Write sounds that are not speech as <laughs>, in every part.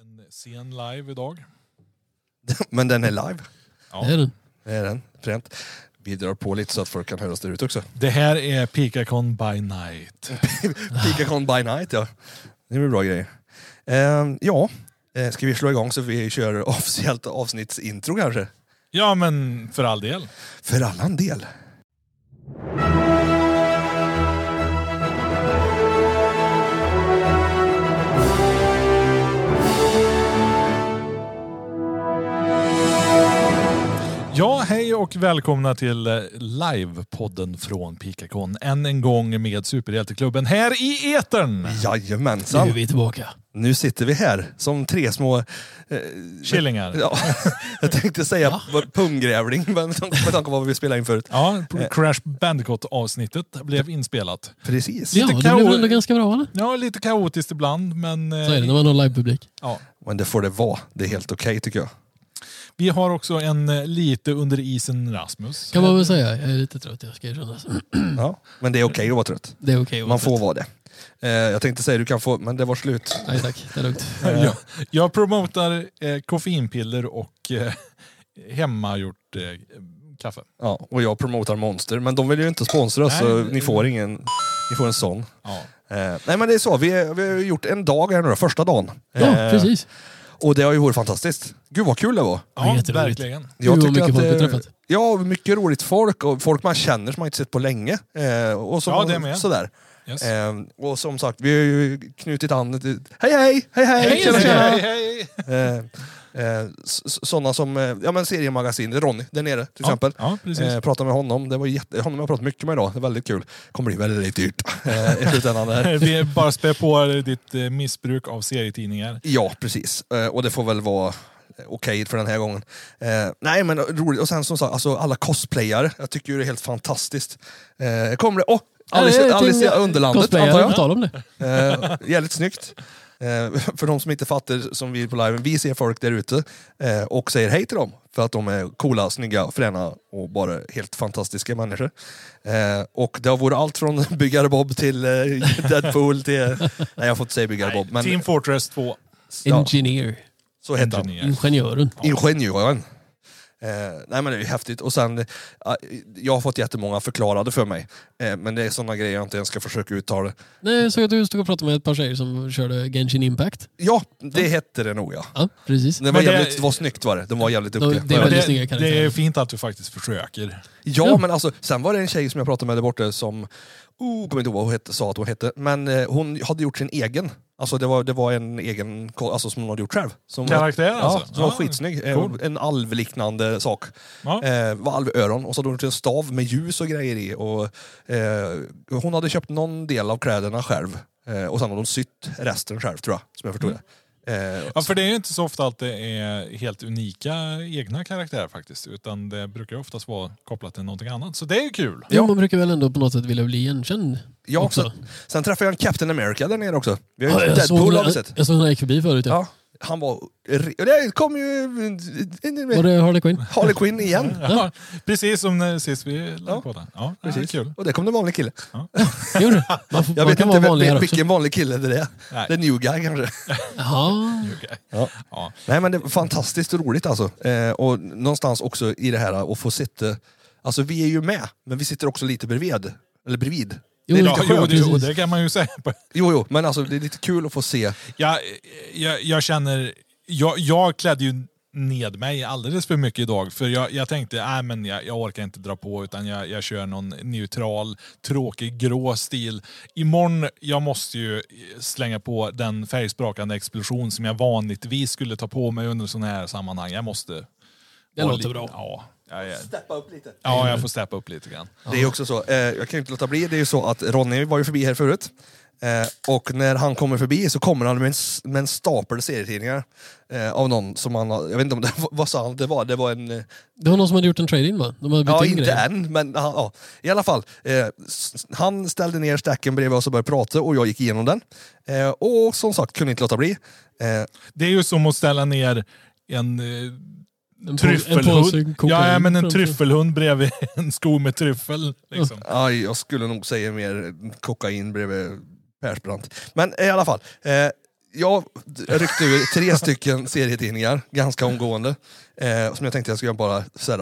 en sen live idag. Men den är live. Ja. Det är det. Det är den. Fränt. Vi drar på lite så att folk kan höra oss där ute också. Det här är Pikacon by night. Pikacon by night ja. Det blir bra grejer. Ehm, ja, eh, ska vi slå igång så vi kör officiellt avsnittsintro kanske? Ja, men för all del. För allan del. Ja, hej och välkomna till eh, livepodden från Pikacon. Än en gång med Superhjälteklubben här i etern. Nu är Jajamensan. vi tillbaka. Nu sitter vi här som tre små... eh, Killingar. Ja, <laughs> jag tänkte säga punggrävling men med tanke på vad vi spelade in förut. Ja, på Crash Bandicoot-avsnittet blev inspelat. Precis. Ja, det Lite kao- blev väl ändå ganska bra eller? Ja, lite kaotiskt ibland, men... eh, Så är det när man har livepublik. Ja. Men det får det vara. Det är helt okej tycker jag. Vi har också en eh, lite under isen Rasmus. Kan man väl säga. Jag är lite trött, jag ska erkänna. Ja. Men det är okej att vara trött. Det är okej. Man att vara får trött. vara det. Eh, jag tänkte säga du kan få, men det var slut. Nej tack, det är lugnt. Eh. Jag, jag promotar eh, koffeinpiller och eh, hemmagjort eh, kaffe. Ja, och jag promotar Monster, men de vill ju inte sponsra oss Nej. så ni får ingen, ni får en sån. Ja. Eh, nej men det är så, vi, vi har gjort en dag här nu då, första dagen. Ja, Eh, precis. Och det har ju varit fantastiskt. Gud vad kul det var. Ja, Ja, jätteroligt. verkligen. Gud, vad tycker mycket folk vi eh, träffat. Ja, mycket roligt folk och folk man känner som man inte sett på länge. Eh, och som, Ja, det med. Sådär. Yes. Eh, och som sagt, vi har ju knutit an... till- Hej hej! Hej hej! Hej, tjena, hej, tjena. hej, hej. Eh, eh, s- s- Sådana som, eh, ja men seriemagasinet, Ronny där nere till Ja, exempel. Ja, precis. Eh, pratade med honom, det var jätte, honom har jag pratat mycket med idag, det är väldigt kul. Kommer bli väldigt dyrt eh, i slutändan. Där. <laughs> Vi bara spär på ditt eh, missbruk av serietidningar. Ja, precis. Eh, och det får väl vara eh, okej för den här gången. Eh, nej men roligt, och sen som sagt, alltså, alla cosplayare, jag tycker ju det är helt fantastiskt. Eh, kommer det, åh! Oh, Alice, Ja, det är Alice i ting- Underlandet cosplayare, antar jag. på tal om det. Eh, jävligt snyggt. Eh, för de som inte fattar, som vi är på liven, vi ser folk där ute eh, och säger hej till dem. För att de är coola, snygga, fräna och bara helt fantastiska människor. Eh, och det har varit allt från <laughs> Byggare Bob till eh, Deadpool till... Nej, jag får inte säga Byggare Bob. Men, Team Fortress 2. ja, Engineer. så heter han. Mm, Engineer. Ingenjören. Ingenjören. Eh, nej men det är ju häftigt. Och sen, eh, jag har fått jättemånga förklarade för mig. Eh, men det är sådana grejer jag inte ens ska försöka uttala. Nej, jag såg att du stod och pratade med ett par tjejer som körde Genshin Impact. Ja, det hette det nog ja. Ja, precis. Det var, Men det- jävligt, det var snyggt var det. De var jävligt duktiga. det Men är väldigt det, snygga karaktärer. det är fint att du faktiskt försöker. Ja, Ja. men alltså, sen var det en tjej som jag pratade med där borta som, oh, kommer inte ihåg vad hon hette, sa att hon hette, men eh, hon hade gjort sin egen. Alltså det var, det var en egen, ko- alltså som hon hade gjort själv. Som, Karaktär ja, alltså? Som var Ja, skitsnygg. Eh, cool. En alvliknande sak. Ja. Eh, var alvöron. Och så hade hon gjort en stav med ljus och grejer i. Och, eh, hon hade köpt någon del av kläderna själv. Eh, och sen hade hon sytt resten själv tror jag, som jag förstod det. Eh, Ja, för det är ju inte så ofta att det är helt unika egna karaktärer faktiskt. Utan det brukar ju oftast vara kopplat till någonting annat. Så det är ju kul. Jo, man brukar väl ändå på något sätt vilja bli igenkänd. ja, också. sen, sen träffade jag en Captain America där nere också. Vi har Ja, ju jag såg Deadpool har vi när sett. jag såg när jag gick förbi förut. Ja. Ja, han var... och Det kom ju... Var det Harley Quinn? <laughs> Harley Quinn igen. Ja, precis som när sist vi lade Ja, på den. Ja, det är Precis. kul. Och där kom det en vanlig kille. Jo, du. man, Jag vet får, man kan inte vara vem, vanligare vil- också. vilken vanlig kille det är. Nej. Det är New Guy kanske. Jaha. Okej. Ja. Ja. Nej men det var fantastiskt roligt alltså. Eh, och någonstans också i det här att få sitta... Alltså vi är ju med, men vi sitter också lite bredvid. Eller bredvid. Jo, det är Ja, lite jo, ja, skönt. det, jo, precis. det kan man ju säga. <laughs> Jo, jo, men alltså det är lite kul att få se. Jag, jag, jag känner... Jag, jag klädde ju ned mig alldeles för mycket idag. För jag, jag tänkte, nej men jag, jag orkar inte dra på utan jag, jag kör någon neutral, tråkig, grå stil. Imorgon, jag måste ju slänga på den färgsprakande explosion som jag vanligtvis skulle ta på mig under sådana här sammanhang. Jag måste... Det vara låter lite- bra. Ja, jag, jag, Steppa upp lite. ja, jag får steppa upp lite grann. Det är också så, eh, jag kan ju inte låta bli, det är ju så att Ronny var ju förbi här förut. Eh, och när han kommer förbi så kommer han med en, s- med en stapel serietidningar. Eh, av någon som han har, jag vet inte om det, <laughs> vad sa han det var? Det var en... eh, Det var någon som hade gjort en trade-in va? De hade bytt Ja, in inte grejer. än, men han, ja. I alla fall. Eh, s- han ställde ner stacken bredvid oss och började prata och jag gick igenom den. Eh, och som sagt, kunde inte låta bli. Eh, Det är ju som att ställa ner en eh, En En tryffelhund. påse kokain ja, ja, men en framför- tryffelhund bredvid <laughs> en sko med tryffel. Liksom. aj, jag skulle nog säga mer kokain bredvid Persbrandt. Men i alla fall. Eh, jag ryckte <laughs> ur tre stycken serietidningar ganska omgående. Eh, som jag tänkte jag skulle bara såhär,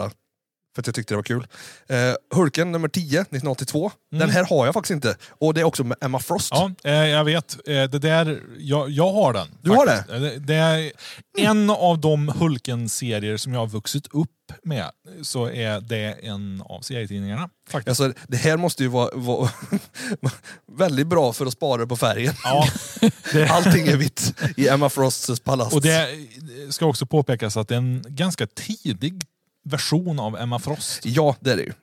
för att jag tyckte det var kul. Eh, Hulken nummer 10, 1982. Den här har jag faktiskt inte. Och det är också med Emma Frost. Mm. Ja, eh, jag vet. Eh, det där, jag, jag har den. Du har faktiskt. Eh, det? Det är en av de Hulken-serier som jag har vuxit upp med. Så är det en av serietidningarna. Faktiskt. Alltså, det här måste ju vara, vara <laughs> väldigt bra för att spara på färgen. Ja, det, Allting är vitt i Emma Frosts palast. och det ska också påpekas att det är en ganska tidig version av Emma Frost. Ja, det är det ju.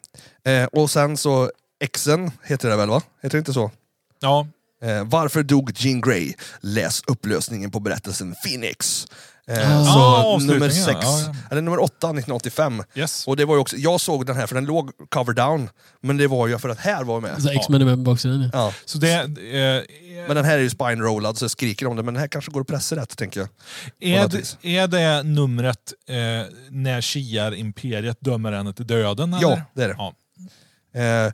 Eh, och sen så, Exen heter det väl va? Heter det inte så? Ja, Eh, varför dog Jean Grey? Läs upplösningen på berättelsen Phoenix. Eh, Ah. så Ah, avslutningen, nummer sex, ja, ja. eller nummer åtta 1985. yes. Och det var ju också, jag såg den här för den låg cover down, men det var ju för att här var jag med. Så X-Men är med på baksidan. Ja. Ja. Så det... Eh, Men den här är ju spine-rollad så jag skriker om det, men den här kanske går att pressa rätt tänker jag. Är något det, vis. är det numret eh, när Shiar-imperiet dömer henne till döden? Eller? Ja, det är det. Ja. Eh,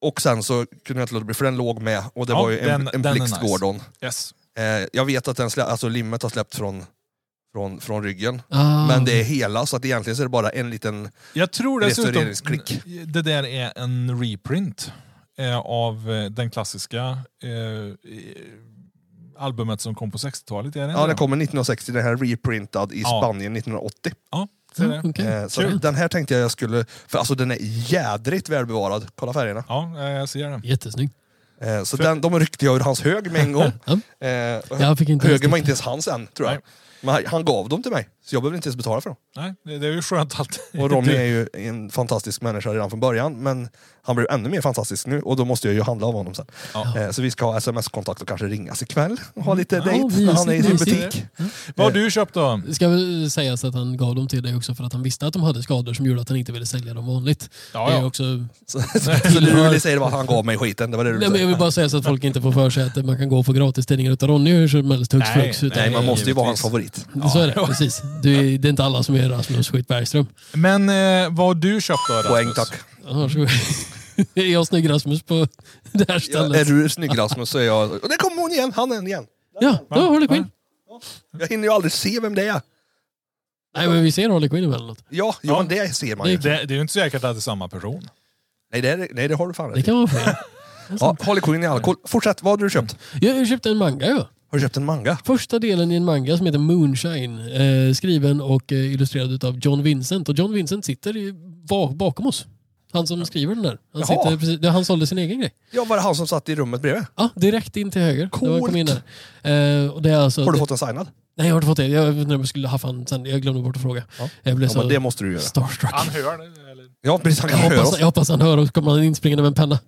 och sen så kunde jag inte låta bli, för den låg med och det Ja, var ju en, den- en den är blixt nice. Gordon. Yes. Eh, jag vet att den slä, alltså limmet har släppt från, från, från ryggen. Ah. Men det är hela, så att egentligen så är det bara en liten... Jag tror dessutom Restaureringsklick. det där är en reprint eh, av eh, den klassiska eh, eh, albumet som kom på 60-talet. Är det Ja, den kommer 1960, den här reprintad i Ja. Spanien 1980. Ja, ser Ja, det. Mm, okej. Eh, så Kul. den här tänkte jag jag skulle... För alltså den är jädrigt välbevarad, kolla färgerna. ja, eh, jag ser det. Jättesnygg. Eh, så den, de ryckte jag ur hans hög med en gång. <laughs> Ja. Eh, och Jag fick inte högen var ens- inte ens hans än, tror jag. Nej. Men han- han gav dem till mig, så jag behövde inte ens betala för dem. Nej, det det är ju skönt att... Och Ronny är det, ju en fantastisk människa redan från början, men han blir ännu mer fantastisk nu och då måste jag ju handla av honom sen. <laughs> Ja. Eh, Så vi ska ha sms-kontakt och kanske ringas ikväll och ha lite Ja, dejt när mysigt, han är i sin mysigt. butik. Vad har du köpt då? Mm. Det ska väl sägas att han gav dem till dig också för att han visste att de hade skador som gjorde att han inte ville sälja dem vanligt. Ja, Det är ja. också... Så, <laughs> så det du ville säga var att han gav mig skiten, det var det du Nej, men ville jag vill säga. bara säga så att folk inte får för sig att man kan gå och få gratistidningar utav Ronny hur som helst hux Nej, flux. utan- Nej, man måste ju vara Givetvis. hans favorit. Så är det, precis. Du, är- det är inte alla som är Rasmus Skit Bergström. Men eh, vad har du köpt då, Rasmus? Poäng tack. Annars så- <laughs> är jag snygg Rasmus på det här Ja, är stället. du snygg Rasmus så är jag... Och där kommer hon igen, han är en igen. Ja, då Harley Quinn. Jag hinner ju aldrig se vem det är. Nej, men vi ser Harley Quinn emellanåt. Ja, jo, Ja. men det ser man ju. Det, det är ju inte säkert att det är samma person. Nej, det, är, nej, det har du fan rätt Det i. kan vara fel. Ja, Harley Quinn i alkohol. Fortsätt, vad har du köpt? Jag köpte en manga ju. Har du köpt en manga? Första delen i en manga som heter Moonshine. Eh, skriven och eh, illustrerad av John Vincent. Och John Vincent sitter i, va- bakom oss. Han som skriver den där. Han, Jaha. sitter precis, han sålde sin egen grej. Ja, var det han som satt i rummet bredvid? Ja, direkt in till höger. Det var- kom in där. Eh, och det är alltså, Har du det, fått en signad? Nej, jag har inte fått det. Jag undrade om jag skulle haffa en sen. Jag glömde bort att fråga. Ja. Jag blev Ja, så men det måste du göra. starstruck. Han hör det. Eller? Ja, precis. Han kan Jag höra hoppas, oss. jag hoppas han hör och så kommer han inspringande med en penna.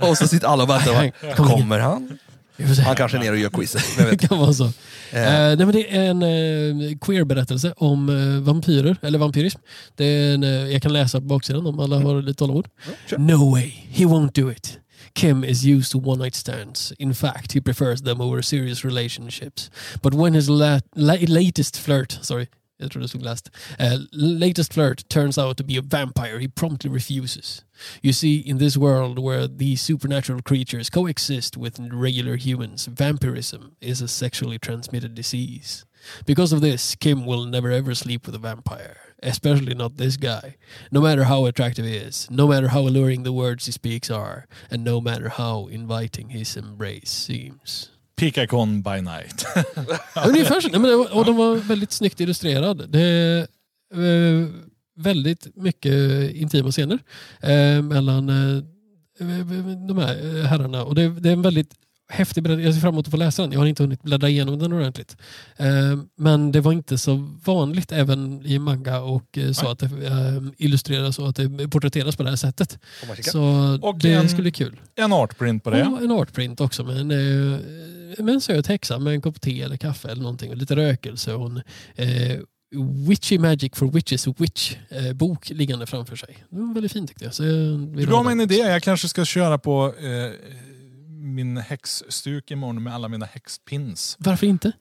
Och så sitter alla och väntar. Nej, va? kom igen. Kommer han? Vi får se. Han kanske är nere och gör quiz. Vem vet. Det kan vara så. <laughs> Eh, nej, men det är en eh, queer-berättelse om eh, vampyrer, eller vampyrism. Det är en, eh, jag kan läsa på baksidan om alla har lite tålamod. kör. No way, he won't do it. Kim is used to one night stands. In fact, he prefers them over serious relationships. But when his la- la- latest flirt, sorry, jag trodde det stod last, eh, latest flirt turns out to be a vampire, he promptly refuses. You see, in this world where these supernatural creatures coexist with regular humans, vampirism is a sexually transmitted disease. Because of this, Kim will never ever sleep with a vampire, especially not this guy. No matter how attractive he is, no matter how alluring the words he speaks are, and no matter how inviting his embrace seems. Pikakon by night. Ungefär så. Nej, men det var- Och den var väldigt snyggt illustrerad. Det är eh, väldigt mycket intima scener eh, mellan eh, de här eh, herrarna. Och det, det är en väldigt häftig berättelse. Jag ser fram emot att få läsa den. Jag har inte hunnit bläddra igenom den ordentligt. Eh, men det var inte så vanligt även i manga och eh, så Nej. att det eh, illustreras och att det porträtteras på det här sättet. Får man kika? Så Och ehm, det en- skulle bli kul. En artprint på det. Ja, en artprint också med en, eh, med en söt häxa med en kopp te eller kaffe eller någonting. Och lite rökelse och en eh, Witchy Magic for Witches Witch-bok liggande framför sig. Det var väldigt fint tyckte jag. Så jag vill Du gav ha mig en den. idé. Jag kanske ska köra på eh, min häxstuk imorgon med alla mina häxpins. Varför inte? Mm.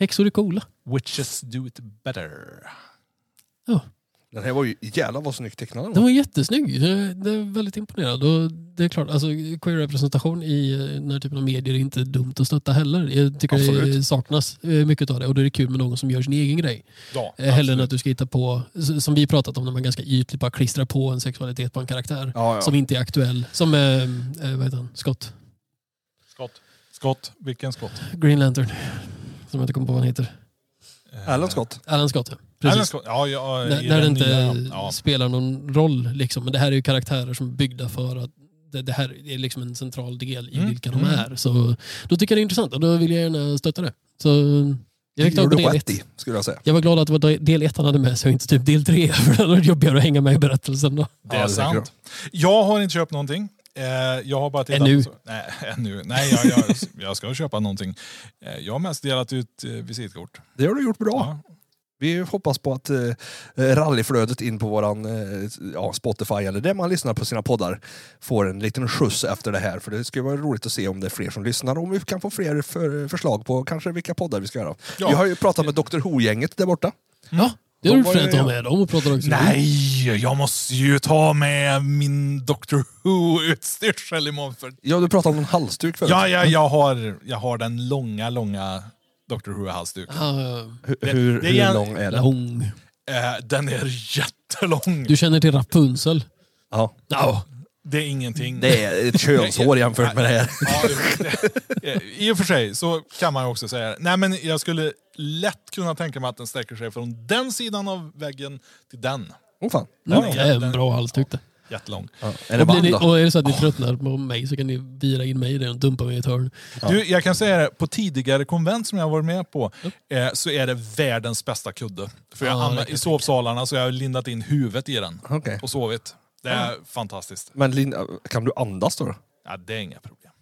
Häxor är coola. Witches do it better. Den här var ju, jävlar vad snyggt tecknad den Den var. var jättesnygg. Jag jag är väldigt imponerad. Och det är klart, alltså, queer-representation i eh, den här typen av medier är inte dumt att stötta heller. Jag tycker det Absolut. saknas eh, mycket av det och då är det kul med någon som gör sin egen grej. Ja, Eh, Hellre än absolut. att du ska hitta på, s- som vi pratat om, när man ganska ytligt bara klistrar på en sexualitet på en karaktär Ja, ja. som inte är aktuell. Som, eh, eh, vad heter han, Scott? Skott. Skott. Vilken skott? Green Lantern. Som jag inte kommer på vad han heter. Alan Scott. Alan Scott, ja. Precis. Precis. Alan Scott. Eh, Ja, ja, i Där, där det den inte nya- ja. spelar någon roll. Liksom. Men det här är ju karaktärer som är byggda för att det, det här är liksom en central del i Mm. vilka de Mm. är. Så då tycker jag det är intressant och då vill jag gärna stötta det. Så jag fick tag på gjorde del rätt ett. i, skulle jag säga. Jag var glad att det var del ett han hade med sig och inte typ del tre. <laughs> För då var det jobbigare att hänga med i berättelsen. Då. Det Ja, är det tänker sant. Jag har inte köpt någonting. Eh, Jag har bara tittat Ännu. På, nej, ännu. Nej, jag, jag, jag ska köpa någonting. Eh, Jag har mest delat ut eh, visitkort. Det har du gjort bra. Ja. Vi hoppas på att eh, rallyflödet in på våran eh, ja, Spotify eller där man lyssnar på sina poddar får en liten skjuts efter det här. För det skulle vara roligt att se om det är fler som lyssnar och om vi kan få fler för, förslag på kanske vilka poddar vi ska göra. Ja. Vi har ju pratat med Dr. Ho-gänget där borta. Ja, det De är du var fränt att ha ju- med dem och prata också. Nej, jag måste ju ta med min Dr. Who-utstyrsel imorgon. För... Ja, du pratade om en halsduk förut. Ja, ja, jag, har, jag har den långa, långa Dr. Who-halsduken. Ah, Hur, Det- hur, det är- hur lång är den? lång. Eh, Den är jättelång. Du känner till Rapunzel? Ja. Ja. Det är ingenting. Det är ett könshår jämfört med <laughs> det här. Ja, det- eh, I och för sig så kan man ju också säga det. Nej, men jag skulle lätt kunna tänka mig att den sträcker sig från den sidan av väggen till den. Åh fan. Den det är en bra hals tyckte Jättelång. Ja. Är det Och, blir band ni, då? och är det så att ni tröttnar på mig så kan ni vira in mig i den och dumpa mig i ett hörn. Du, jag kan säga det, på tidigare konvent som jag har varit med på eh, så är det världens bästa kudde. För jag Ja, det hamnar, kan I jag sovsalarna så har jag lindat in huvudet i den Okej. och sovit. Det är fantastiskt. Men Linda, kan du andas då? <laughs> då? Ja, det är inga problem.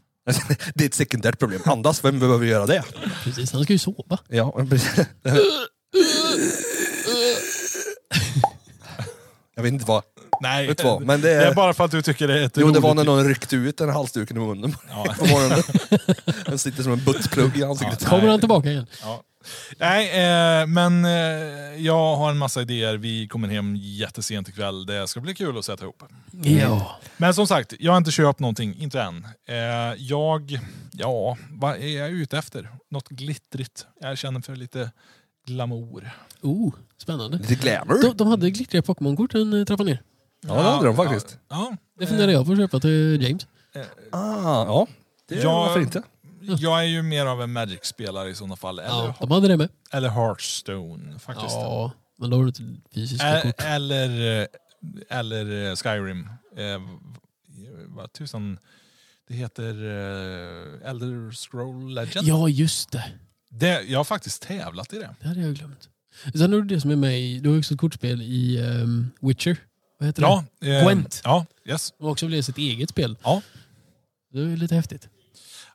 Det är ett sekundärt problem. Andas, vem behöver göra det? Precis, han ska ju sova. Ja, men precis. Jag vet inte vad. Nej, eh, Vet du vad, men det det är- är bara för att du tycker det är ett Jo, det var när roligt- någon ryckte ut den här halsduken ur munnen Ja. på morgonen. Den sitter som en buttplugg i ansiktet. Ja. Kommer Nej. han tillbaka igen? Ja. Nej, eh, men eh, jag har en massa idéer. Vi kommer hem jättesent ikväll. Det ska bli kul att sätta ihop. Ja. Men som sagt, jag har inte köpt någonting. Inte än. Eh, jag, ja, vad är jag ute efter? Något glittrigt. Jag känner för lite glamour. Oh, spännande. Lite glamour. De, de hade glittriga Pokémon-kort en eh, trappa ner. Ja, det hade de faktiskt. Ja, Eh, Det funderar jag på att köpa till James. Ah, ja. Det, Ja. Varför inte? ja. Jag är ju mer av en Magic-spelare i sådana fall. Eller, Ja, de hade det med. eller Hearthstone faktiskt. Ja, men då har du inte fysiska Ä- kort. eller, eh, eller eh, Skyrim. Eh, v- vad tusan... Det heter eh, Elder Scroll Legend. Ja, just det. Det, jag har faktiskt tävlat i det. Det hade jag glömt. Sen har du det som är med i, du har också ett kortspel i ehm, Witcher. Vad heter det? Ja, eh, Gwent. Ja, yes. De har också blivit sitt eget spel. Ja. Det är ju lite häftigt.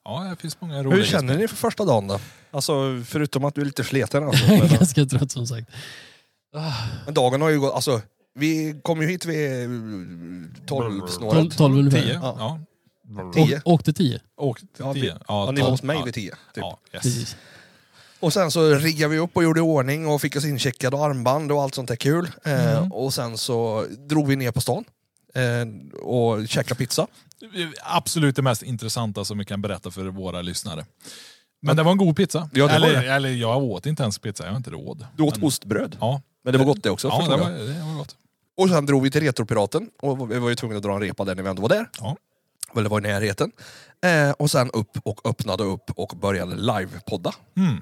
ja, det finns många roliga Hur känner spel. ni för första dagen då? Alltså, förutom att du är lite <laughs> sleten. Alltså, Jag men, är <laughs> ganska trött som sagt. men dagen har ju gått... Alltså, vi kom ju hit vid eh, tolvsnåret. 12, 12 ungefär. Tio, Ja. ja. Tio. Åk- Åkte 10. Och, Ja, vi- tio. Ja, Ja, ni var tolv. hos mig Ja, vid tio. Typ. Ja, yes. Precis. Och sen så riggade vi upp och gjorde i ordning och fick oss incheckade och armband och allt sånt där kul. Mm. Eh, och sen så drog vi ner på stan eh, och käkade pizza. Absolut det mest intressanta som vi kan berätta för våra lyssnare. Men det var en god pizza. Ja, det var eller, det. eller jag åt inte ens pizza, jag har inte råd. Du åt Men- ostbröd. Ja, Men det var gott det också. Mm. ja förstår det, jag. var, det var gott. Och sen drog vi till Retropiraten och vi var ju tvungna att dra en repa där när vi ändå var där. Ja. Eller var i närheten. Eh, och sen upp och öppnade upp och började livepodda. Mm.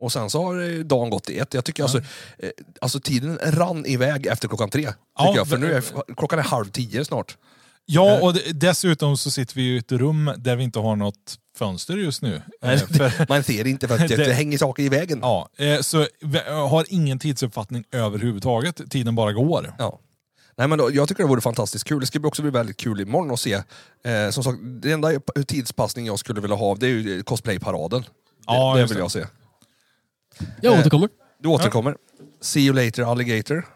Och sen så har eh, dagen gått i ett. Jag tycker alltså, eh, alltså tiden rann iväg efter klockan tre. Tycker Ja, jag. För det- nu är klockan är halv tio snart. Ja, Eh. och d- dessutom så sitter vi i ett rum där vi inte har något fönster just <laughs> nu. Eh, För, Man ser <laughs> inte för att det, Det- det hänger saker i vägen. ja, eh, så vi har ingen tidsuppfattning överhuvudtaget. Tiden bara går. Ja. Nej, men då, jag tycker det vore fantastiskt kul. Det ska bli också bli väldigt kul imorgon att se. Eh, som sagt, det enda tidspassning jag skulle vilja ha det är ju cosplayparaden. Ja, det, det just vill det. jag se. Eh. Jag återkommer. Du återkommer. See you later alligator.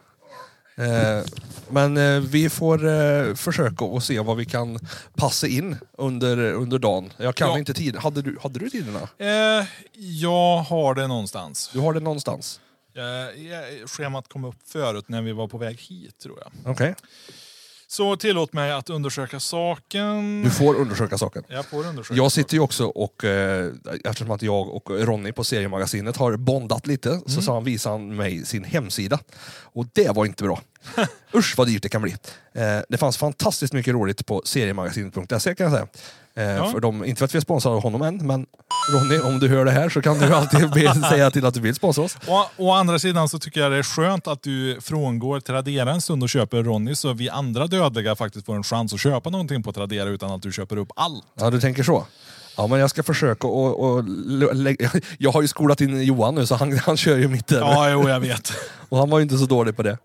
Eh, men eh, vi får eh, försöka och se vad vi kan passa in under, under dagen. Jag kan Ja. inte tiden. Hade du, hade du tiderna? Eh, jag har det någonstans. Du har det någonstans? Eh, ja, schemat kom upp förut när vi var på väg hit tror jag. Okej. Så tillåt mig att undersöka saken. Du får undersöka saken. Jag får undersöka. Jag sitter ju också och, eh, eftersom att jag och Ronny på seriemagasinet har bondat lite, Mm. så sa han, visade han mig sin hemsida. Och det var inte <laughs> bra. Usch vad dyrt det kan bli. Eh, det fanns fantastiskt mycket roligt på seriemagasinet.se kan jag säga. Eh, Ja. för de, inte för att vi är sponsrade av honom än, men Ronny, om du hör det här så kan du alltid be, <laughs> säga till att du vill sponsra oss. Å, å andra sidan så tycker jag det är skönt att du frångår Tradera en stund och köper Ronny så vi andra dödliga faktiskt får en chans att köpa någonting på Tradera utan att du köper upp allt. Ja, du tänker så. Ja, men jag ska försöka och, och lä- <laughs> lägga... Jag har ju skolat in Johan nu, så han, han kör ju mitt där. Ja, jo, jag <laughs> vet. Och han var ju inte så dålig på det.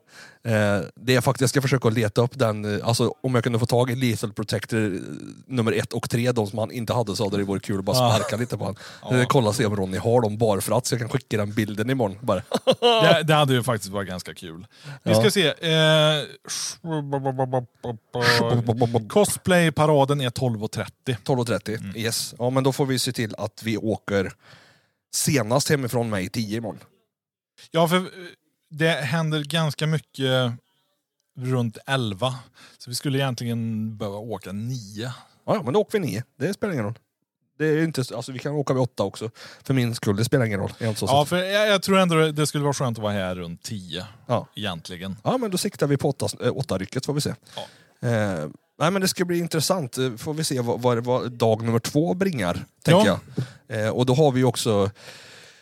Eh, det är faktiskt, jag ska försöka leta upp den, eh, alltså om jag kunde få tag i Lethal Protector eh, nummer ett och tre, de som han inte hade så hade det varit kul att bara Ja. sparka lite på honom. Eh, kolla och se om Ronny har dem bara för att, så jag kan skicka den bilden imorgon. Bara. Det, det hade ju faktiskt varit ganska kul. Vi ska Ja. se. <laughs> Eh... Cosplayparaden är 12.30. 12.30, yes. Ja men då får vi se till att vi åker senast hemifrån mig 10 imorgon. Ja, för eh, det händer ganska mycket runt 11. Så vi skulle egentligen behöva åka 9. Ja, ja men då åker vi 9, det spelar ingen roll. Det är ju inte, så- alltså, vi kan åka vid 8 också, för min skull, det spelar ingen roll. Jag är inte så Ja, för jag, jag tror ändå det- det skulle vara skönt att vara här runt 10 Ja. egentligen. Ja, men då siktar vi på åtta, äh, åtta rycket får vi se. Ja. Eh, nej, men det ska bli intressant. Eh, Får vi se vad, vad, vad dag nummer två bringar, tänker Ja. jag. Eh, och då har vi ju också...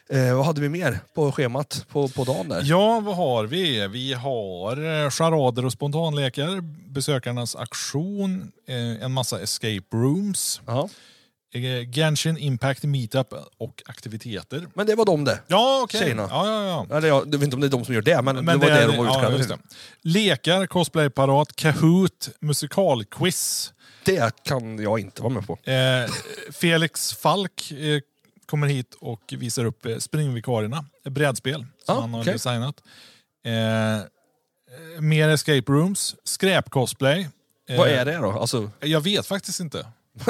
Eh, vad hade vi mer på schemat på, på dagen där? Ja, vad har vi? Vi har eh, charader och spontanlekar, besökarnas aktion, eh, en massa escape rooms, Ja. eh, Genshin Impact Meetup och aktiviteter. Men det var de det. Ja, okej. Tjejerna. Ja, ja, ja. Eller jag vet inte om det är de som gör det, men, Men det var det, de var ja, utklädda just till. det. Lekar, cosplayparat, Kahoot, musikalquiz. Det kan jag inte vara med på. Eh, Felix Falk eh, kommer hit och visar upp eh, springvikarierna, eh, brädspel som Ah, han har okej. designat. Eh, eh, mer escape rooms, skräpcosplay. Eh, Vad är det då? Alltså, Jag vet faktiskt inte.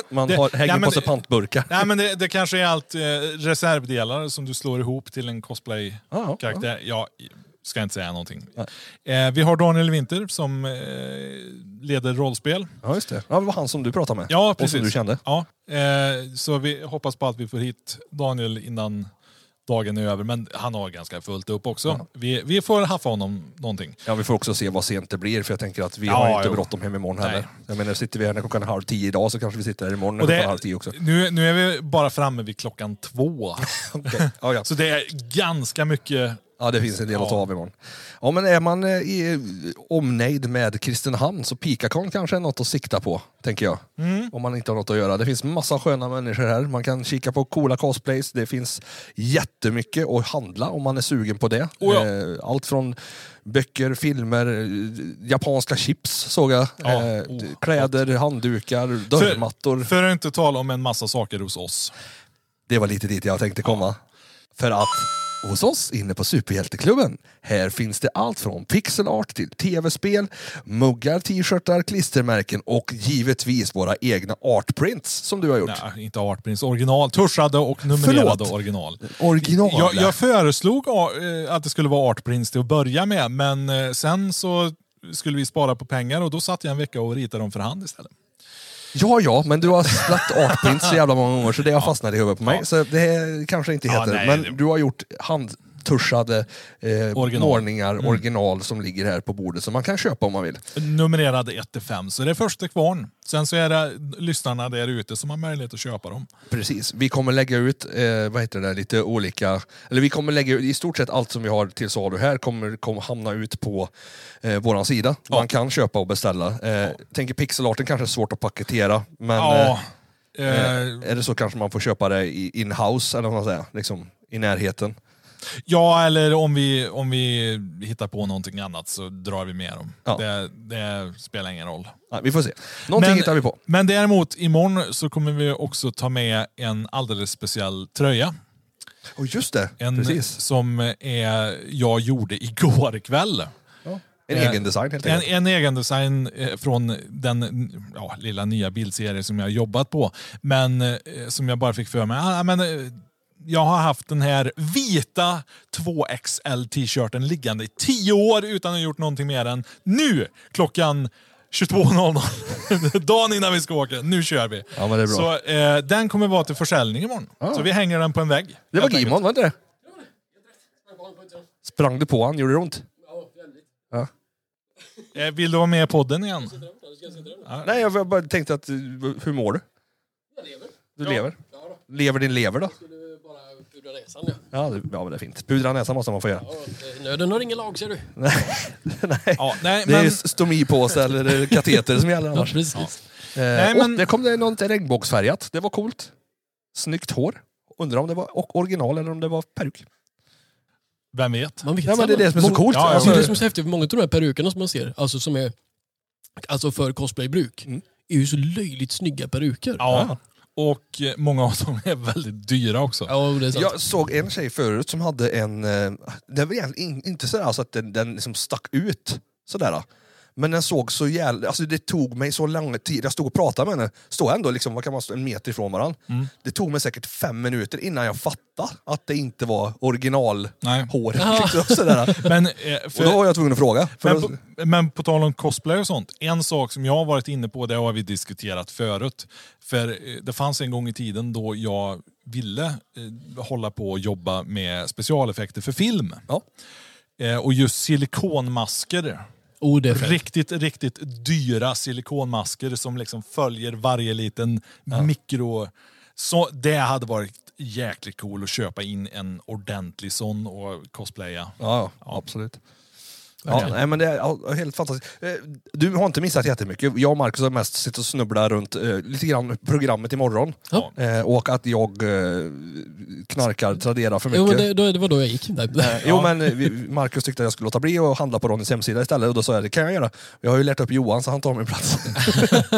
man Det- har, hänger ja, men på sig det- pantburkar. Nej, men det, det kanske är allt eh, reservdelar som du slår ihop till en cosplay Ja, ja. karaktär. Jag ska inte säga någonting. Eh, vi har Daniel Winter som eh, leder rollspel. Ja, just det. Ja, det var han som du pratade med. Ja, och precis. som du kände. Ja, eh, så vi hoppas på att vi får hit Daniel innan dagen är över. Men han har ganska fullt upp också. Vi, vi får haffa honom någonting. Ja, vi får också se vad sent det blir, för jag tänker att vi Ja, har inte jo. bråttom hem imorgon heller. Nej. Jag menar, sitter vi här när klockan är halv tio idag så kanske vi sitter här imorgon när Och det- klockan är halv tio också. <laughs> Nu, nu är vi bara framme vid klockan två. Ja, ja. Så det är ganska mycket... ja, det finns en del att ta Ja. av imorgon. Ja, men är man eh, i omnejd med Kristinehamn så Pikakon kanske är något att sikta på, tänker jag. Mm. Om man inte har något att göra. Det finns massa sköna människor här. Man kan kika på coola cosplays. Det finns jättemycket att handla om man är sugen på det. Oh ja. Eh, Allt från böcker, filmer, eh, japanska chips såg jag. Ja, Eh, oh, Kläder, handdukar, dörrmattor. För att inte tala om en massa saker hos oss. Det var lite dit jag tänkte komma. För att hos oss inne på Superhjälteklubben, här finns det allt från pixelart till tv-spel, muggar, t-shirtar, klistermärken och givetvis våra egna artprints som du har gjort. Nej, inte Artprins original. Tuschade och numrerade Förlåt. original. Original. Jag, jag föreslog eh, att det skulle vara Artprints till att börja med, men eh, sen så skulle vi spara på pengar och då satt jag en vecka och ritade dem för hand istället. Ja, ja, men du har släppt artprints så jävla många gånger så det har fastnat i huvudet på mig. Ja. Så det är- kanske inte Ja, heter nej, men det- du har gjort handtuschade eh, Original. Mm. målningar, original som ligger här på bordet som man kan köpa om man vill. Numrerade 1 till 5, så det är första kvarn. Sen så är det lyssnarna där ute som har möjlighet att köpa dem. Precis. Vi kommer lägga ut eh, vad heter det, där, lite olika... Eller vi kommer lägga ut, i stort sett allt som vi har till salu här kommer, kommer hamna ut på eh, vår sida. Man kan köpa och beställa. Eh, Tänker pixelarten kanske är svårt att paketera, men Ja, eh, eh, är det så kanske man får köpa det i- in-house, eller vad man säger, liksom, i närheten. ja eller om vi, om vi hittar på någonting annat så drar vi med dem. Ja. Det, det spelar ingen roll. Ja, vi får se. Någonting Men- hittar vi på. Men däremot imorgon så kommer vi också ta med en alldeles speciell tröja. Och just det, En precis. som eh, är, jag gjorde igår kväll. En eh, egen design helt En, enkelt. en egen design eh, från den ja, lilla nya bildserie som jag har jobbat på. Men eh, som jag bara fick för mig, ah, men, eh, jag har haft den här vita 2XL t-shirten liggande i tio år utan att ha gjort någonting med den. Nu klockan 22.00, <laughs> dagen innan vi ska åka. Nu kör vi. Ja, men det är bra. Så eh, den kommer vara till försäljning imorgon. Så vi hänger den på en vägg. Det var helt enkelt. Gimon, var inte det? Sprang du på han? Gjorde det ont? Eh, vill du vara med i podden igen? Nej, jag bara tänkte att... eh, Hur mår du? Jag lever. Du lever? Lever din lever då? Ja, det, ja men det är fint. Pudra näsan måste man få göra. eh, Nöden har ingen lag ser du. <laughs> Nej. Ja, nej, Det är men, ju stomipåse eller kateter som gäller annars. precis. Eh, Nej, och men- Där kom det något regnbågsfärgat. Det var coolt. Snyggt hår. Undrar om det var och- original eller om det var peruk. vem vet? Man vet Ja, men det är sällan. det som är så Många- coolt. Ja, ja, Alltså, Alltså, det som är så häftigt, för många av de här perukerna som man ser, alltså som är alltså för cosplaybruk, Mm. är ju så löjligt snygga peruker. Ja. Och eh, många av dem är väldigt dyra också. ja det är sant. Jag såg en tjej förut som hade en... eh, Det var egentligen in- inte sådär alltså att den, den liksom stack ut. Sådär. Men den såg så jävla... Alltså det tog mig så lång tid. Jag stod och pratade med henne. Stod ändå liksom, vad kan man stå, en meter ifrån varandra. Mm. Det tog mig säkert fem minuter innan jag fattade att det inte var Nej. originalhåret. Liksom, sådär. Men, eh, Och då för, var jag tvungen att fråga. För men, på, men på tal om cosplay och sånt. En sak som jag har varit inne på, det har vi diskuterat förut. För eh, det fanns en gång i tiden då jag ville eh, hålla på och jobba med specialeffekter för film. Ja. Eh, och just silikonmasker. oh, det är fett. Riktigt, riktigt dyra silikonmasker som liksom följer varje liten mikro... Så det hade varit jäkligt cool att köpa in en ordentlig sån och cosplaya. Ja, ja, absolut. Ja, Verkligen. nej, men det är ja, helt fantastiskt. Eh, Du har inte missat jättemycket. Jag och Marcus har mest suttit och snubblat runt eh, lite grann programmet imorgon. Ja. Eh, och att jag eh, knarkar Tradera för mycket. Jo, men det, då- det var då jag gick. Nej. Jo, men eh, vi- Marcus tyckte att jag skulle låta bli och handla på Ronnys hemsida istället. Och då sa jag, det kan jag göra. Jag har ju lärt upp Johan så han tar min plats. <laughs>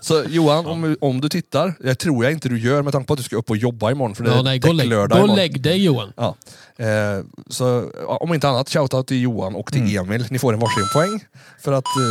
så Johan, om, om du tittar, jag tror jag inte du gör med tanke på att du ska upp och jobba imorgon. För det Ja, är nej, gå och lägg, däcklördag gå och imorgon. lägg dig Johan. Ja. Eh, så ja, om inte annat, shoutout till Johan och till Mm. Emil. Ni får en varsin poäng för att eh,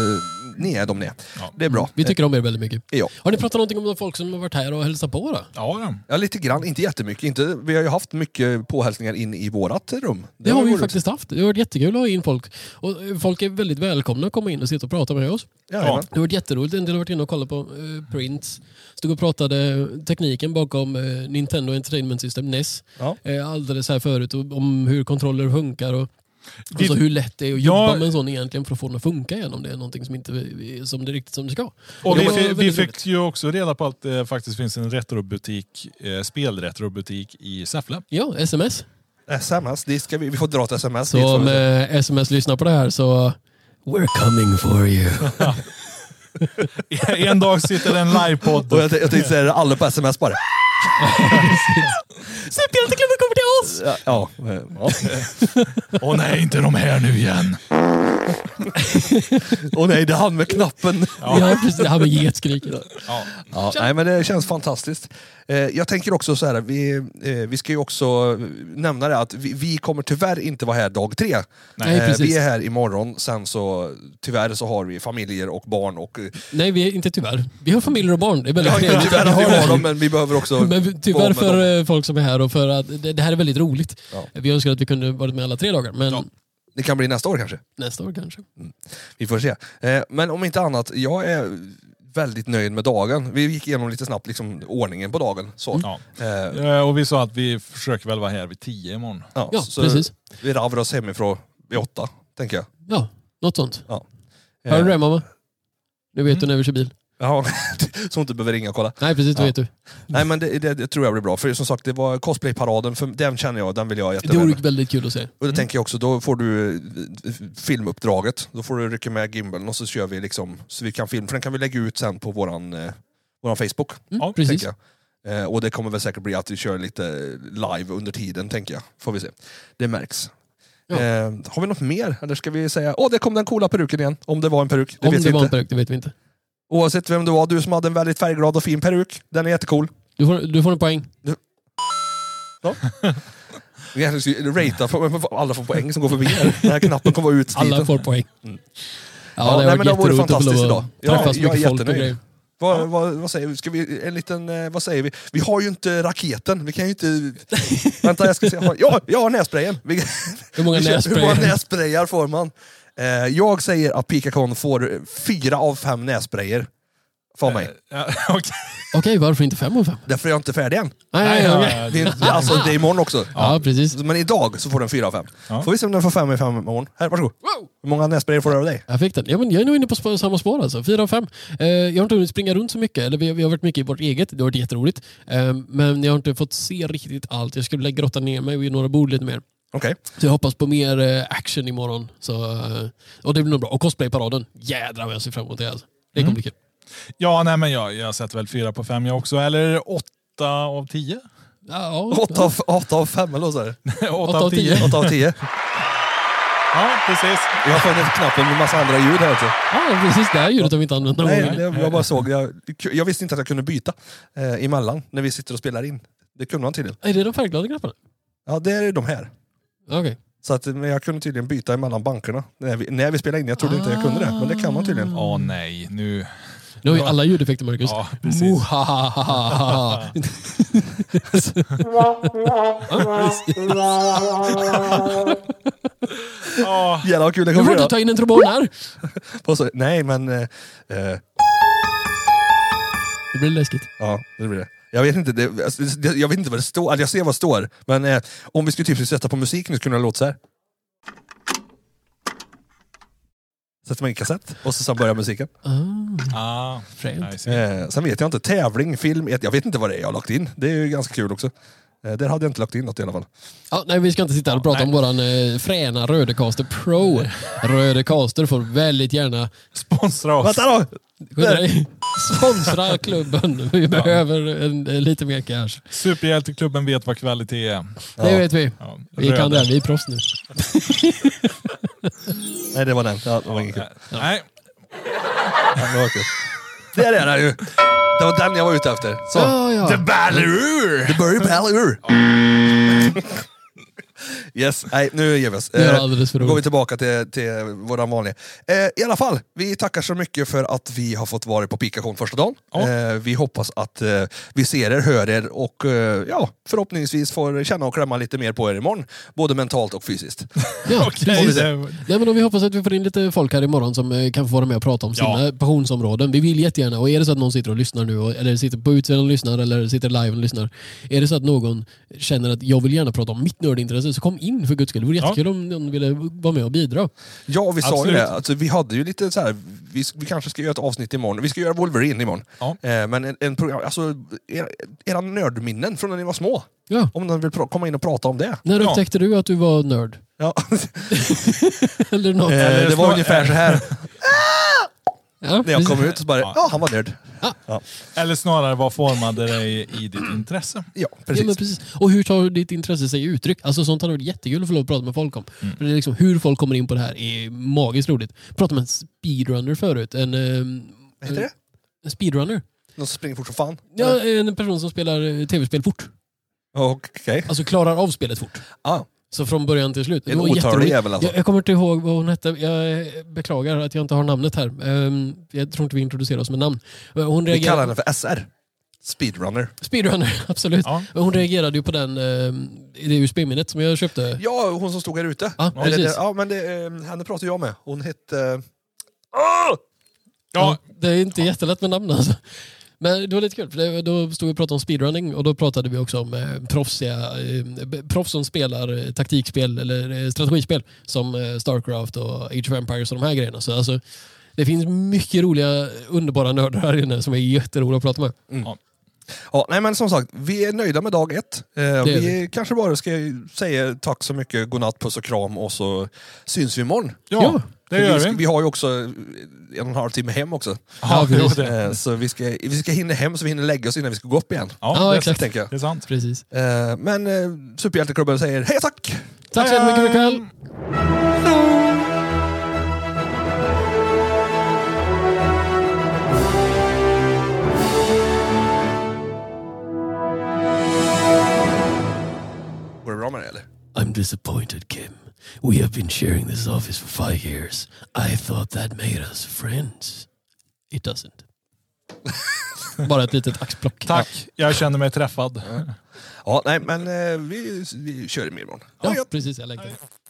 ni är de ni är. Ja. Det är bra. Vi tycker om er väldigt mycket. Ja. Har ni pratat någonting om de folk som har varit här och hälsat på då? Ja, ja. Ja, lite grann. Inte jättemycket. Inte, vi har ju haft mycket påhälsningar in i vårat rum. Det, har var vi ju roligt. faktiskt haft. Det har varit jättekul att ha in folk. Och eh, folk är väldigt välkomna att komma in och sitta och prata med oss. Jajamän. Det har varit jätteroligt. En del har varit inne och kollat på eh, prints. Stod och pratade tekniken bakom eh, Nintendo Entertainment System, NES. Ja. Eh, alldeles här förut och, om hur kontroller funkar och Det- alltså hur lätt det är att Ja. jobba med en sån egentligen för att få den att funka igen om det är någonting som inte är som det är riktigt som det ska. Och Det vi, var fi- vi väldigt fick ju också reda på att det faktiskt finns en retrobutik, eh, spelretrobutik i Säffle. <laughs> Ja, sms. Sms, det ska vi, vi får dra ett sms. dit, Så får vi om se. eh, sms lyssnar på det här så eh, We're coming for you. en dag sitter en livepodd. Och <laughs> jag, t- jag tänkte säga det, alla på sms bara. Superhjälteklubben kommer till oss! Ja, ja, eh, ja. <laughs> Åh nej, inte de här nu igen. Och nej, det är han med knappen. Ja, precis. Han med getskriket. Ja. Ja, nej, men det känns fantastiskt. Eh, jag tänker också så här, vi, eh, vi ska ju också nämna det att vi, vi kommer tyvärr inte vara här dag tre. Nej, Eh, precis. vi är här imorgon, sen så tyvärr så har vi familjer och barn och... eh, Nej, vi är inte tyvärr. Vi har familjer och barn. Det är <laughs> väldigt Ja, trevligt. tyvärr att vi har dem, men vi behöver också... Men vi- vara tyvärr med dem. för eh, folk som är här och för att det, det här är väldigt roligt. Ja. Vi önskar att vi kunde varit med alla tre dagar, men Ja. Det kan bli nästa år kanske. nästa år kanske. Vi får se. Eh, men om inte annat, jag är väldigt nöjd med dagen. Vi gick igenom lite snabbt liksom, ordningen på dagen. Så. Mm. Ja. Eh, Eh, Och vi sa att vi försöker väl vara här vid tio imorgon. ja, Ja, så precis. Vi ravrar oss hemifrån vid åtta, tänker jag. Ja, något sånt. Ja. Hör du Eh, det mamma? Nu vet du när vi kör bil. Ja, <laughs> så hon inte behöver ringa och kolla. Nej, precis. Då Ja. vet du. Nej men det, det, det tror jag blir bra. För som sagt, det var cosplayparaden, för den känner jag, den vill jag Det jättegärna. vore väldigt kul att se. Mm, Och det tänker jag också, då får du eh, filmuppdraget. Då får du rycka med gimbalen och så kör vi liksom, så vi kan film. För den kan vi lägga ut sen på våran, eh, våran Facebook. Mm, Ja, precis. Tänker jag. Eh, och det kommer väl säkert bli att vi kör lite live under tiden, tänker jag. Får vi se. Det märks. Ja. Eh, har vi något mer? Eller ska vi säga, åh, där kom den coola peruken igen. Om det var en peruk, det Om vet det vi var en inte. peruk, det vet vi inte. Oavsett vem det var, du som hade en väldigt färgglad och fin peruk. Den är jättecool. Du får, du får en poäng. Vi kanske ska Ratea, för- men alla får poäng som går förbi här. Den här knappen kommer vara utsliten. Alla får poäng. Ja, Mm. Ja, det nej, har men det varit vore jätteroligt att få fantastiskt lov idag. att Ja, träffa så jag är mycket folk och jättenöjd. grejer. Vad, vad, vad säger vi? Ska vi en liten, eh, vad säger vi? Vi har ju inte raketen, vi kan ju inte... Vänta, jag ska se. Jag har- Ja, jag har nässprayen! Vi- <laughs> Hur många vi kör- Hur många nässprayer? nässprayar får man? Eh, jag säger att Pikacon får eh, fyra av fem nässprayer. För mig. Ja, Eh, <laughs> okej. Okej, varför inte fem av fem? Därför är jag inte färdig än. Nej, Nej, ja, okej. ja, Det är, alltså, det är imorgon också. Ja, precis. Men idag så får den fyra av fem. Ja. Får vi se om den får fem av fem imorgon. Här, varsågod. Hur många nässprayer får du av dig? Jag fick den. Ja, men jag är nog inne på spå- samma spår alltså. Fyra av fem. Eh, jag har inte hunnit springa runt så mycket. Eller vi, har- vi har varit mycket i vårt eget. Det har varit jätteroligt. Eh, men jag har inte fått se riktigt allt. Jag skulle grotta ner mig vid några bord lite mer. Okej. Så jag hoppas på mer eh, action imorgon. Så, eh, och det blir nog bra. Och cosplayparaden. Jädrar vad jag ser fram emot det. Alltså. Det kommer bli kul. ja, nej men jag, jag sätter väl fyra på fem jag också. Eller åtta av tio? Ja, ja. Åtta av, åtta av fem, eller vad sa du? åtta av av tio. tio. Åtta av tio. Ja, precis. Jag har funnit knappen med massa andra ljud här också. ja, precis. Det här ljudet har vi inte använt någon Nej, det, gång. jag bara såg. Jag, jag visste inte att jag kunde byta eh, emellan när vi sitter och spelar in. Det kunde man tydligen. Är det de färgglada knapparna? Ja, det är de här. Okej. Så att, men jag kunde tydligen byta emellan bankerna när vi, när vi spelade in. Jag trodde inte jag kunde det, men det kan man tydligen. Åh nej, nu... Nu har ju alla ljudeffekter, Marcus. Ja, precis. Mohahaha. Ja, Jävlar vad kul det <laughs> Nu kommer får du att ta in en trombon här. ta... så, Nej, men... Eh, eh, Det blir läskigt. ja, det blir det. Jag vet, inte, det, alltså, det, jag vet inte vad det står, alltså, jag ser vad det står, men eh, om vi skulle typ sätta på musik nu skulle det låta så här. Sätter man in kassett och så sen börjar musiken. ah, Fränt. I see. Eh, sen vet jag inte, tävling, film, jag jag vet inte vad det är jag har lagt in. Det är ju ganska kul också. Eh, där hade jag inte lagt in något i alla fall. Ja, nej, vi ska inte sitta här och prata Nej. om våran eh, fräna Rödecaster Pro. Rödecaster får väldigt gärna Sponsra oss. Vänta då! skynda dig. sponsra klubben. Vi behöver en, eh, lite mer cash. Superhjälteklubben vet vad kvalitet är. Det vet vi. Ja, Vi röda. kan det, här, vi är proffs nu. Nej, det var den. Ja, det var inget kul. Nej, Ja, det var kul. Där är den ju! Det var den jag var ute efter. Så. Ja, ja. The Ballerur! The Burry Ballerur! <laughs> Yes, nej nu ger vi oss. Det var Eh, alldeles för Då går vi roligt. tillbaka till, till våran vanliga. Eh, I alla fall, vi tackar så mycket för att vi har fått vara på Pikation första dagen. Ja. Eh, vi hoppas att eh, vi ser er, hör er och eh, ja, förhoppningsvis får känna och klämma lite mer på er imorgon. Både mentalt och fysiskt. <laughs> Ja, okej. precis. det- Nej, men då vi hoppas att vi får in lite folk här imorgon som eh, kan få vara med och prata om Ja. sina passionsområden. Vi vill jättegärna, och är det så att någon sitter och lyssnar nu, och- eller sitter på utsidan och lyssnar, eller sitter live och lyssnar. Är det så att någon känner att jag vill gärna prata om mitt nördintresse, så kom in för guds skull. Det vore Ja. jättekul om någon ville vara med och bidra. Ja, vi sa ju Absolut. det. Alltså, vi hade ju lite så här, vi, vi kanske ska göra ett avsnitt imorgon. Vi ska göra Wolverine imorgon. Ja. Eh, men en, en program, alltså, era, era nördminnen från när ni var små. Ja. Om någon vill pra- komma in och prata om det. När Ja. upptäckte du att du var nörd? <laughs> <laughs> Ja. Eller något? Eh, det var snarare- ungefär så här Ja, när jag <laughs> precis. kom ut. Så bara, Ja. ja, han var nörd. Eller snarare, vad formade dig i ditt intresse? Ja, Ja, precis. men precis. Och hur tar ditt intresse sig uttryck? Alltså sånt hade varit jättekul att få lov att prata med folk om. Mm. För det är liksom, hur folk kommer in på det här är magiskt roligt. Jag pratade med en speedrunner förut. En, ehm, Vad heter det? en speedrunner. Någon som springer fort som fan? Ja, en person som spelar eh, tv-spel fort. Okej. Alltså klarar av spelet fort. Ah, Så från början till slut. Det en var otörlig jätteroligt. jävel alltså. Jag, jag kommer inte ihåg vad hon hette. Jag eh, beklagar att jag inte har namnet här. Ehm, jag tror inte vi introducerar oss med namn. Eh, Hon Vi kallar henne reagerade... för SR. Speedrunner. Speedrunner, <laughs> absolut. Ja. Hon reagerade ju på den, ehm, det USB-minnet som jag köpte. Ja, hon som stod här ute. Ja, Eller det- precis. ja men det, eh, henne pratade jag med. Hon hette... eh, Ja, Det är inte jättelätt med namn alltså. Men det var lite kul, för det, då stod vi och pratade om speedrunning och då pratade vi också om eh, proffsiga, eh, b- proffs som spelar eh, taktikspel eller eh, strategispel som eh, Starcraft och Age of Empires och de här grejerna. Så alltså, det finns mycket roliga, underbara nördar här inne som är jätteroliga att prata med. Ja, nej men som sagt, vi är nöjda med dag ett. Eh, är vi kanske bara ska säga tack så mycket, godnatt, puss och kram och så syns vi imorgon. ja, det För gör vi. ska- vi. Vi har ju också eh, en och en halv timme hem också. Ja, Ja, jo, precis. det, Eh, så vi ska, vi ska hinna hem så vi hinner lägga oss innan vi ska gå upp igen. Ja, ja, exakt. Tänker jag. det är sant. Precis. Eh, men eh, Superhjälteklubben säger hej och tack! Tack så mycket för ikväll. Går det bra med det eller? I'm disappointed, Kim. We have been sharing this office for five years. I thought that made us friends. It doesn't. Bara ett litet axplock. Tack, jag känner mig träffad. Ja, nej, men eh, vi, vi kör i morgon. Ja, precis. Jag lägger det.